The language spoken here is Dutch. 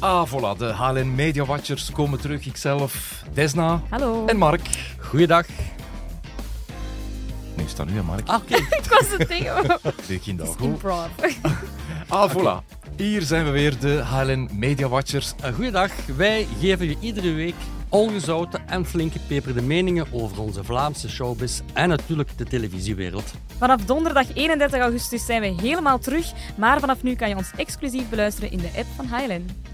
Avola. Ah, De HLN Media Watchers komen terug. Ikzelf, Desna Hallo. en Mark. Goeiedag. Nu staat nu, hè, Mark. Ah, oké. Ik was het tegen. De kinderen. Improv. Avola. Hier zijn we weer, de HLN Media Watchers. Eh, Goeiedag. Wij geven je iedere week ongezouten en flinke peperde meningen over onze Vlaamse showbiz en natuurlijk de televisiewereld. Vanaf donderdag 31 augustus zijn we helemaal terug. Maar vanaf nu kan je ons exclusief beluisteren in de app van Highland.